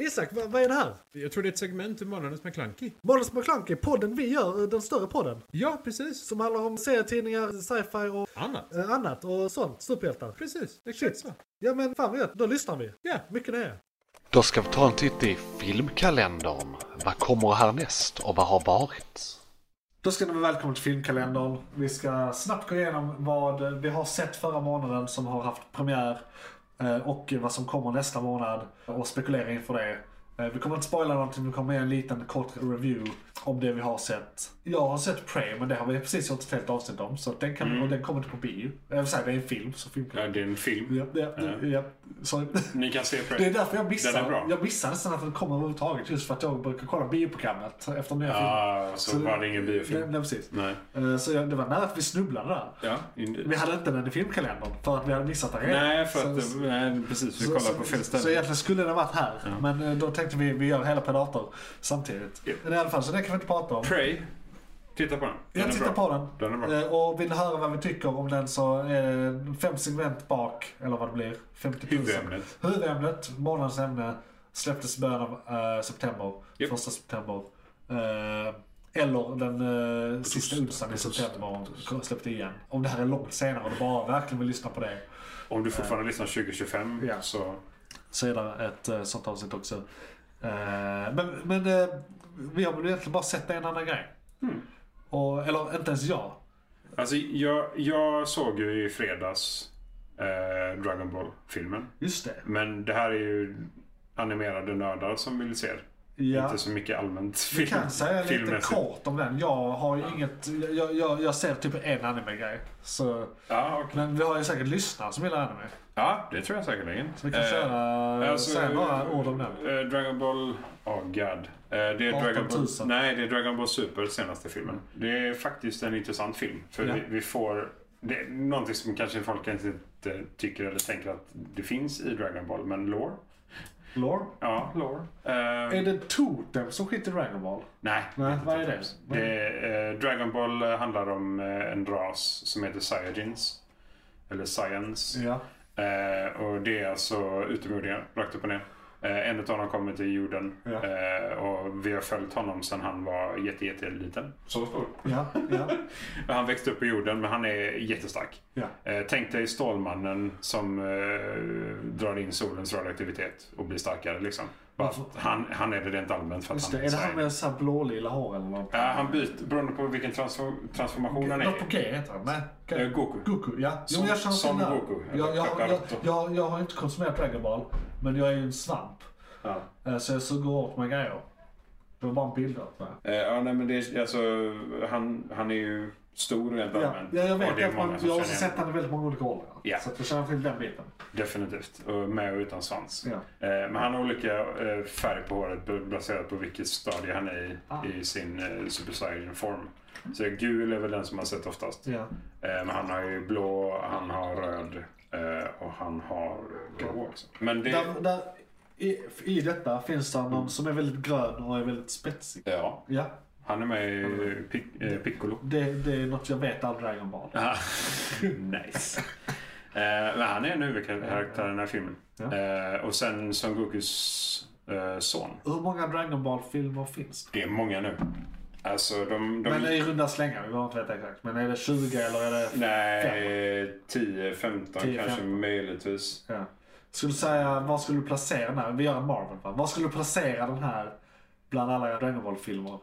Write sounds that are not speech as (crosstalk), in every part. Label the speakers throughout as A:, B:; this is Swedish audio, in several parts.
A: Isak, vad, vad är det här?
B: Jag tror det är ett segment ur Månadens McKlunky.
A: Månadens McKlunky, podden vi gör, eh, den större podden.
B: Ja, precis.
A: Som handlar om serietidningar, sci-fi och
B: Annat.
A: eh, annat och sånt. Superhjältar.
B: Precis, exakt så.
A: Ja men fan vad gött, då lyssnar vi.
B: Ja.
A: Mycket nöje.
C: Då ska vi ta en titt i filmkalendern. Vad kommer härnäst och vad har varit?
A: Då ska ni vara välkomna till filmkalendern. Vi ska snabbt gå igenom vad vi har sett förra månaden som har haft premiär eh, och vad som kommer nästa månad och spekulera inför det. Eh, Vi kommer inte spoila någonting, vi kommer ge en liten kort review om det vi har sett. Jag har sett Prey, men det har vi precis gjort ett helt avsnitt om. Så den, kan, och den kommer inte på bio. Jag vill säga, det är en film, så
D: Mm. Ja,
A: filmkalendern.
D: det är en film.
A: Ja, ja, ja. ja, sorry.
D: Ni kan se Prey.
A: Det är därför jag
D: Den är
A: missar,
D: bra.
A: jag missar nästan att den kommer överhuvudtaget. Just för att jag brukar kolla bioprogrammet efter nya filmer.
D: Ja, så, var det Alltså, ingen biofilm.
A: Nej, nej, precis.
D: Nej.
A: Eh, Så jag, det var nära att vi snubblade där.
D: Ja, in-
A: Vi hade inte den i filmkalendern för att vi hade missat den redan.
D: nej, för att...
A: Så-
D: nej, precis, vi
A: så-
D: kollar på
A: så-
D: fel
A: Så
D: ställe.
A: egentligen skulle den ha varit här. Men eh, då tänkte vi vi gör hela Predator samtidigt.
D: Ja.
A: Men i alla fall, så den kan vi inte prata om.
D: Prey. Titta på den. den
A: Jag
D: är
A: tittar
D: bra.
A: på den.
D: Den är bra.
A: Eh, Och vill höra vad vi tycker om den så eh, fem segment bak, eller vad det blir. 50 000.
D: Huvudämnet.
A: Huvudämnet, månadens ämne, släpptes i början av eh, september.
D: Japp.
A: Första september. Eh, eller den eh, sista
D: torsdag.
A: onsdagen i september släppte igen. Om det här är långt senare och du bara verkligen vill lyssna på det.
D: Om du fortfarande lyssnar 2025
A: Eh. Ja.
D: så...
A: Så är det ett eh, sånt avsnitt också. Eh, men men eh, vi har väl egentligen bara sett en annan grej.
D: Hmm.
A: Och, eller inte ens jag.
D: Alltså, jag, jag såg ju i fredags eh, Dragon Ball-filmen.
A: Just det.
D: Men det här är ju animerade nördar som vill se det.
A: Ja.
D: Inte så mycket allmänt film,
A: Vi kan säga lite
D: filmmässigt.
A: kort om den. Jag har ju inget... Jag, jag, jag ser typ en anime-grej. Så,
D: Ja, okej.
A: men vi har ju säkert lyssnare som gillar anime.
D: ja, det tror jag säkerligen.
A: Så vi kan
D: Eh,
A: köra,
D: Alltså,
A: säga några ord om den.
D: eh, Dragon Ball... Oh god. Eh, det är
A: 18
D: Dragon
A: 000.
D: Ball, nej, det är Dragon Ball Super, senaste filmen. Det är faktiskt en intressant film. För
A: Ja.
D: vi, vi får... Det är någonting som kanske folk kanske inte tycker eller tänker att det finns i Dragon Ball, men lore.
A: Lore?
D: Ja, lore. Eh,
A: Är det Totem som skiter i Dragon Ball?
D: Nej.
A: Nej,
D: inte
A: vad är det?
D: Turtles. det är, eh, Dragon Ball eh, handlar om eh, en ras som heter Saiyajins. Eller Science.
A: Ja.
D: Eh, och det är alltså utomjordingar, rakt upp och ner. Eh, en av dem kommer till jorden
A: Ja.
D: eh, och vi har följt honom sedan han var jätte, jätte liten. Så stor?
A: Ja, ja,
D: Han växte upp på jorden men han är jättestark.
A: ja.
D: Eh, tänk dig Stålmannen som eh, drar in solens radioaktivitet och blir starkare liksom. Bara att Han, han är det rent allmänt för att
A: Just
D: han
A: det. Är det han
D: Saiyan.
A: med så här blålila hår eller något?
D: Ja, han byter beroende på vilken transform- transformation han är
A: Något
D: i.
A: på G heter han? Nej. G-
D: Eh, Goku.
A: Goku, ja. Jo,
D: Som-
A: jag känner
D: som
A: till det.
D: Goku, eller
A: Jag, jag, jag,
D: Kakaroto.
A: jag, jag har inte konsumerat Dragon Ball, men jag är ju en svamp.
D: Ja.
A: Eh, Så jag suger åt mig grejer. Det var bara en bild åt mig.
D: Eh, ja, nej, men det är, alltså, han, han är ju stor rent
A: Ja,
D: allmänt.
A: ja, jag
D: Och
A: vet
D: det är
A: att man,
D: många som
A: jag har också
D: känner igen
A: sett den i väldigt många olika roller.
D: Ja.
A: Så att jag känner till den biten.
D: Definitivt. Och med och utan svans.
A: Ja.
D: Eh, men han har olika eh, färg på håret b- baserat på vilket stadie han är i,
A: Ah.
D: i sin eh, Super Saiyan-form. Så gul är väl den som man sett oftast.
A: Ja.
D: Eh, men han har ju blå, han har röd eh, och han har grå också. Men det...
A: Där, där, i, I detta finns det någon som är väldigt grön och är väldigt spetsig.
D: Ja,
A: Ja,
D: han är med i Pic, eh, Piccolo.
A: det, det är något jag vet av Dragon Ball.
D: Ah, (laughs) nice. Eh, men han är en huvudkaraktär i den här filmen.
A: Ja.
D: Eh, och sen Son Gokus eh, son.
A: Hur många Dragon Ball-filmer finns det?
D: Det är många nu. Alltså de... de
A: Men i runda slängar, vi behöver inte veta exakt. Men är det 20 eller är det...
D: nej, 10, 15
A: 10,
D: kanske
A: 15.
D: möjligtvis.
A: Ja. Skulle du säga, var skulle du placera den här? Vi gör en Marvel va? Var skulle du placera den här bland alla Dragon Ball-filmer?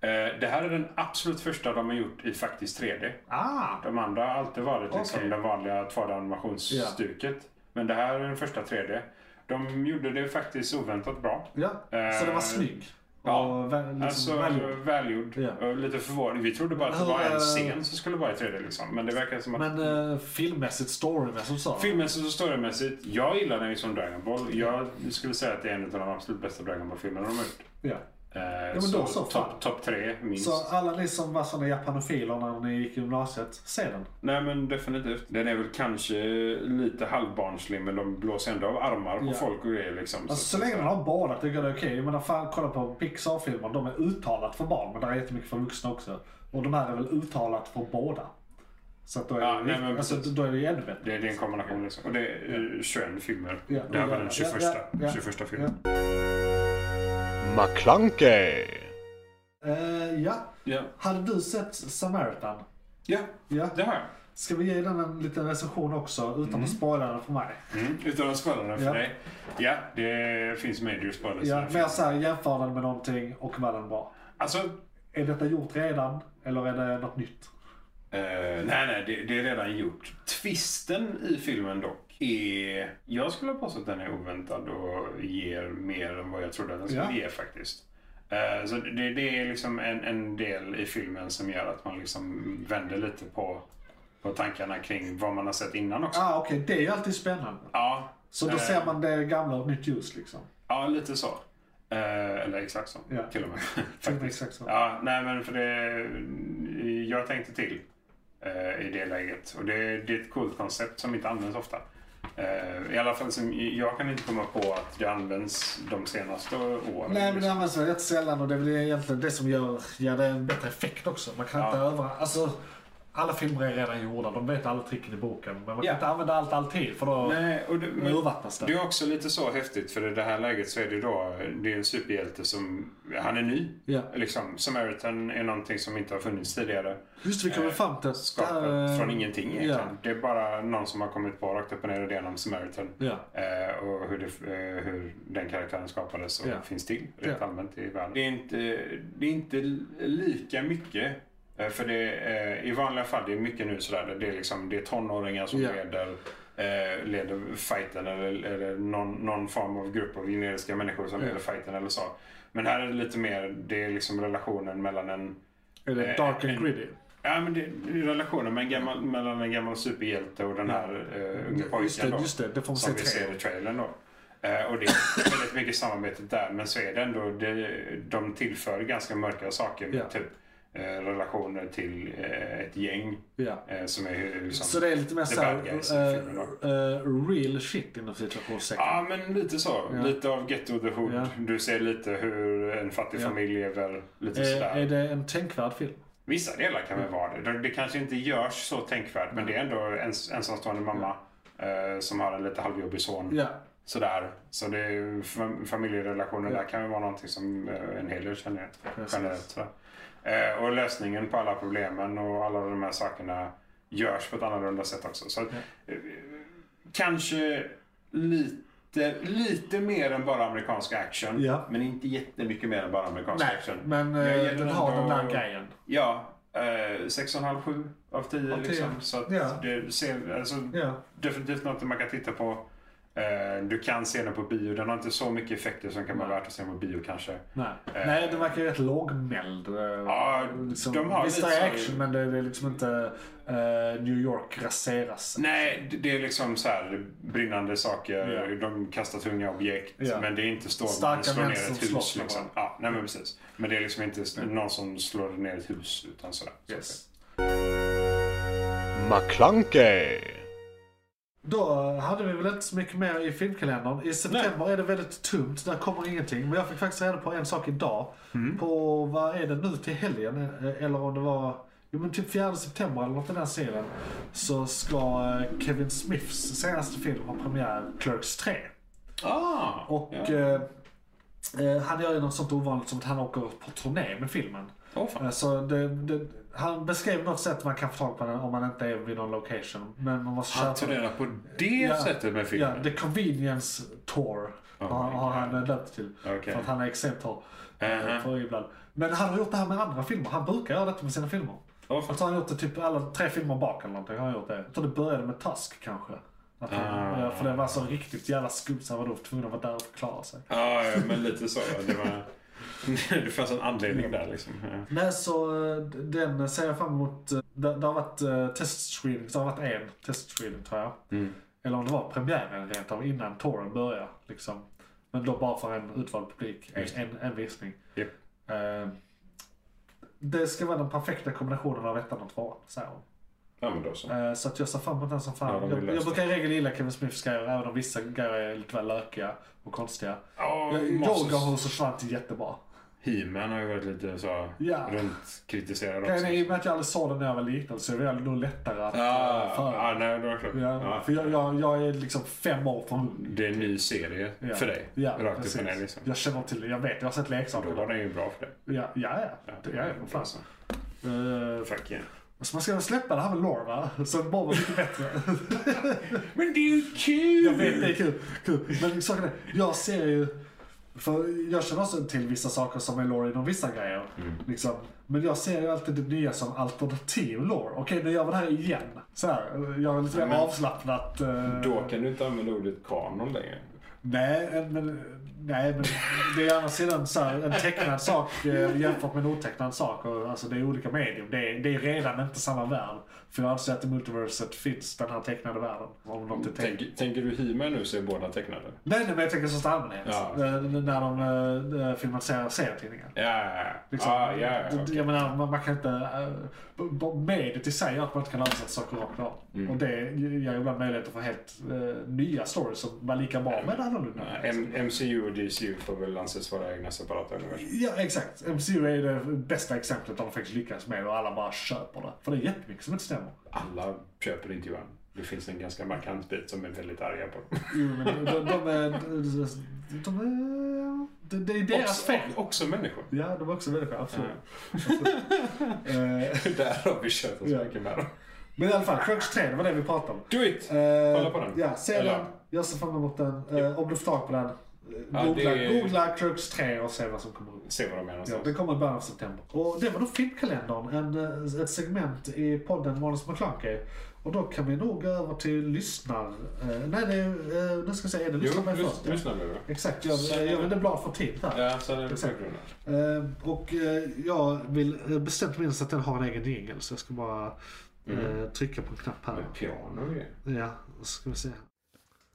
D: Eh, det här är den absolut första de har gjort i faktiskt 3D.
A: Ah!
D: De andra har alltid varit liksom
A: Okej.
D: den vanliga 2D-animationsstuket. Men det här är den första 3D. De gjorde det faktiskt oväntat bra.
A: Ja, så den var
D: Eh,
A: snygg.
D: ja.
A: Och väl, liksom,
D: Alltså
A: väl-
D: välgjord.
A: Ja.
D: Och Lite förvånad. Vi trodde bara att det
A: Hur,
D: var
A: eh,
D: en scen som skulle vara i 3D liksom. Men det verkar som att...
A: Men eh, filmmässigt, storymässigt så.
D: Filmmässigt och storymässigt, jag gillar den ju som Dragon Ball. Jag skulle säga att det är en av de absolut bästa Dragon Ball-filmerna de har gjort.
A: Ja.
D: Eh,
A: men då så, fan.
D: topp top tre minst.
A: Så alla ni som var såna japanofiler när ni gick i gymnasiet, se den.
D: Nej men definitivt. Den är väl kanske lite halvbarnslig men de blåser ändå av armar på
A: Ja.
D: folk och grejer liksom.
A: Alltså, så länge man har båda tycker jag det är okej. Men fan, kolla på Pixar-filmer, de är uttalat för barn men där är jättemycket för vuxna också. Och de här är väl uttalat för båda. Så att då är,
D: Ja,
A: det,
D: nej, men
A: alltså,
D: precis.
A: då är det ju ännu bättre.
D: det, det är en kombination liksom. Och det är eh, 21 filmer.
A: Ja,
D: det här
A: ja,
D: var den
A: ja,
D: 21,
A: ja, ja.
D: 21 filmen.
C: McClunkey.
A: Eh, ja.
D: Ja,
A: Hade du sett Samaritan?
D: ja
A: Ja.
D: det har jag.
A: Ska vi ge den en liten recension också utan att spoila den för mig?
D: Mm, utan att spoila den för
A: Ja.
D: dig. Ja, det finns major spoilers.
A: Ja, alltså-
D: i den
A: mer
D: här filmen.
A: såhär jämför den med någonting och vad den var.
D: Alltså,
A: Är detta gjort redan eller är det något nytt?
D: eh, nej, nej, det, det är redan gjort. Twisten i filmen dock är... Jag skulle påstå att den är oväntad och ger mer än vad jag trodde att den skulle
A: Ja.
D: ge faktiskt. Eh, så det, det är liksom en, en del i filmen som gör att man liksom vänder lite på, på tankarna kring vad man har sett innan också.
A: Ah, okej, det är ju alltid spännande.
D: Ja,
A: Så då
D: Eh.
A: ser man det gamla och nytt ljus liksom.
D: ja lite så. Eh, eller exakt så,
A: Ja.
D: till och med. (laughs)
A: Till och med
D: faktiskt.
A: Exakt så.
D: Ja, nej men för det... Jag tänkte till eh, i det läget. Och det, det är ett coolt koncept som inte används ofta. Eh, I alla fall som, jag kan inte komma på att det används de senaste åren.
A: Nej, men det används väl rätt sällan och det är väl egentligen det som gör, ger det en bättre effekt också. Man kan inte över... Alltså, alla filmer är redan gjorda, de vet alla tricken i boken. Men man kan
D: Ja.
A: inte använda allt alltid för då
D: Nej, och det, men,
A: urvattnas
D: det
A: det.
D: är också lite så häftigt för i det här läget så är det då, det är en superhjälte som, han är ny.
A: Ja.
D: Liksom, Samaritan är någonting som inte har funnits tidigare.
A: Just det, vi kommer
D: eh,
A: fram till att
D: Skapat
A: det här, eh,
D: från ingenting
A: ja.
D: egentligen. Det är bara någon som har kommit på rakt upp och ner idén om Samaritan.
A: Ja.
D: Eh, och hur, det, eh, hur den karaktären skapades och
A: Ja.
D: finns till rent
A: Ja.
D: allmänt i världen. Det är inte, det är inte lika mycket. eh, För det, eh, i vanliga fall, det är mycket nu sådär, där det är, liksom, det är tonåringar som
A: Ja.
D: leder, eh, leder fighten eller, eller någon, någon form av grupp av generiska människor som
A: Ja.
D: leder fighten eller så. Men här är det lite mer, det är liksom relationen mellan en
A: Är det
D: eh,
A: dark and
D: en-
A: gritty?
D: Ja, men det, det är relationen med en gammal, mellan en gammal superhjälte och den här eh, unge pojken.
A: Mm, Just det,
D: då,
A: just det. Det får man
D: som
A: se
D: vi
A: i trailern.
D: ser i trailern. Då. Eh, och det är väldigt mycket samarbete där. Men så är det ändå, det, de tillför ganska mörka saker.
A: Ja.
D: Typ eh, relationer till eh, ett gäng
A: Ja.
D: eh, som är hur... Som,
A: Så det är lite mer
D: The
A: såhär,
D: bad guys i filmen
A: eh, eh, real shit inom situationstecken.
D: Ja, men lite så.
A: Ja.
D: Lite av Ghetto the Hood.
A: Ja.
D: Du ser lite hur en fattig
A: Ja. Eh,
D: familj lever. Lite sådär.
A: är, är det en tänkvärd film?
D: Vissa delar kan väl vara det. det. Det kanske inte görs så tänkvärt men det är ändå en ensamstående mamma eh, som har en lite halvjobbig son.
A: Ja.
D: Sådär. Så det är ju fam- familjerelationer där kan väl vara någonting som eh, en hel del känner igen.
A: Precis.
D: generellt. Sådär. Eh, och lösningen på alla problemen och alla de här sakerna görs på ett annorlunda sätt också. Så att, eh, kanske lite, lite mer än bara amerikansk action.
A: Ja.
D: Men inte jättemycket mer än bara amerikansk
A: Nej,
D: action.
A: men eh,
D: liksom. Jag ger
A: den har den
D: ändå-
A: där grejen.
D: Ja, eh, 6,5-7 av 10.
A: Av 10.
D: Liksom. Så att
A: Ja.
D: det ser, alltså,
A: Ja.
D: definitivt något man kan titta på. Eh, du kan se den på bio. Den har inte så mycket effekter som kan vara värt att se den på bio kanske.
A: Nej. Nej, den verkar ju rätt lågmäld. eh,
D: Ja,
A: liksom,
D: de har
A: visst
D: lite
A: det är
D: så-
A: action, men det är liksom inte eh, New York raseras.
D: Nej, det- det är liksom så här brinnande saker.
A: Ja.
D: De kastar tunga objekt.
A: Ja.
D: Men det är inte stormar
A: Starka
D: som slår ner
A: män som
D: ett hus.
A: slåss med
D: Liksom. Ja, nej, men, precis. men det är liksom inte s- någon som slår ner ett hus. Utan sådär. Så
A: Yes.
C: McClunkey.
A: Då hade vi väl inte så mycket mer i filmkalendern. I september är det väldigt tomt, där kommer ingenting. Men jag fick faktiskt reda på en sak idag.
D: Mm.
A: På, vad är det nu till helgen? eh, Eller om det var, jo men typ 4 september eller något i den stilen. Så ska eh, Kevin Smiths senaste film ha premiär, Clerks 3.
D: det- Ah,
A: Och
D: ja.
A: eh, eh, han gör ju något sånt ovanligt som att han åker på turné med filmen.
D: Åh, fan.
A: Eh, Så det, det, han beskrev något sätt man kan få tag på den om man inte är vid någon location. Men man måste
D: Han
A: köpa den.
D: turnerar på det sättet med filmen. Oh
A: Ja, The Convenience Tour har,
D: my
A: har han döpt till.
D: Okej.
A: För att han är exemplar
D: Mhm.
A: för ibland. Men han har gjort det här med andra filmer. Han brukar göra detta med sina filmer.
D: Åh, fan.
A: Jag tror han har gjort det typ alla tre filmer bak eller någonting. Har han gjort det. Jag tror det började med Tusk kanske. Att han,
D: Ah.
A: ja, För det var så riktigt jävla skumt så han var då tvungen att vara där och förklara sig.
D: Ja, ja, men lite så. Det, var... (laughs) det fanns en anledning där liksom. Ja.
A: Nej, så eh, d- den ser jag fram emot. eh, Det, det har varit eh, testscreening, så det har varit en testscreening tror jag.
D: Mm.
A: Eller om det var premiären rent av innan touren började. Liksom. Men då bara för en utvald publik, en,
D: Just
A: en, en visning.
D: Japp.
A: Eh, det ska vara den perfekta kombinationen av ettan och tvåan, säger hon.
D: ja, men då så.
A: Eh, Så att jag ser fram emot den som fan.
D: Ja, de vill
A: jag, jag
D: lösa
A: brukar i regel gilla Kevin Smiths grejer, även om vissa grejer är lite väl lökiga och konstiga.
D: Ja,
A: Jag-
D: Moses.
A: Yoga Horse och Svant är jättebra.
D: He-Man har ju varit lite så
A: Ja.
D: runt kritiserad också.
A: Grejen är, I och med att jag aldrig såg den när jag var liten så är det nog lättare att
D: Ja,
A: eh, föra.
D: ja, nej, då är det klart.
A: Ja,
D: Ja.
A: för jag, jag, jag är liksom fem år från...
D: Det är en ny serie
A: Ja.
D: för dig.
A: Ja,
D: Rakt
A: precis.
D: upp och ner liksom.
A: Jag känner till det. Jag vet, jag har sett
D: Då var
A: leksaker.
D: den ju bra för dig. Alltså,
A: Ja, ja, ja. Det är jag. Fan. Eh,
D: Fuck yeah.
A: Så man ska väl släppa det här med lore va? Så det bara var mycket bättre.
D: (laughs) Men det är ju kul!
A: Jag vet, det är kul. kul. Men saken är, jag ser ju... För jag känner också till vissa saker som är lore inom vissa grejer.
D: Mm.
A: Liksom. Men jag ser ju alltid det nya som alternativ lore. Okej, nu gör vi det här igen. Så här, jag är lite mer
D: men-
A: avslappnat. eh,
D: Då kan du inte använda ordet kanon längre.
A: Nej, eh, men, nej, men det är å andra sidan så här, en tecknad sak eh, jämfört med en otecknad sak. Och, alltså, det är olika medium. Det är, det är redan inte samma värld. För jag anser att i multiverset finns den här tecknade världen. Om något är tecknat.
D: Tänk, tänker du He-Man nu så är båda tecknade?
A: Nej, nej, men jag tänker i största allmänhet.
D: Ja.
A: Eh, När de eh, filmatiserar serietidningar.
D: Ja, ja, ja.
A: Liksom,
D: Ah, ja, ja,
A: d-
D: okej.
A: Jag menar, man, man kan inte... eh, b- b- mediet i sig gör att man inte kan översätta saker rakt av.
D: Mm.
A: Och det ger ju ibland möjligheter för helt eh, nya stories som var lika bra men annorlunda.
D: M- MCU och DCU får väl anses vara egna separata universum.
A: Ja, exakt. MCU är det bästa exemplet de faktiskt lyckas med och alla bara köper det. För det är jättemycket som inte stämmer.
D: Alla köper inte Johan. Det finns en ganska markant bit som är väldigt arga på dem.
A: Jo, men de, de, de är... De, de är... Det det är deras
D: Också,
A: fel.
D: också människor.
A: Ja, de är också människor, absolut. Eh,
D: (laughs) Där har vi kört oss
A: Ja.
D: mycket med dem.
A: men i alla fall, Crunch 3, det var det vi pratade om.
D: Do it!
A: Eh,
D: Kolla på den.
A: Ja, se
D: Eller-
A: den. Jag ser fram emot den. Eh, om du får tag på den, eh,
D: Ja,
A: googla,
D: det är-
A: googla Crunch 3 och se vad som kommer upp.
D: Se vad de menar.
A: Ja, den kommer i början av september. Och det var då filmkalendern, en, eh, ett segment i podden Månads McClunky. Och då kan vi nog gå över till lyssnar... Eh, nej, det är, eh, nu ska jag säga, är det
D: Jo,
A: lyssnarbrev
D: lys-
A: först? Ja.
D: lyssna nu då.
A: Exakt, jag, jag vände blad för tid här.
D: Ja, sen är det
A: Exakt.
D: Bruna.
A: Eh, och eh, jag vill eh, bestämt minnas att den har en egen jingle, så jag ska bara
D: Mm.
A: eh, trycka på en knapp här.
D: Med piano och grejer.
A: Ja, ska vi se.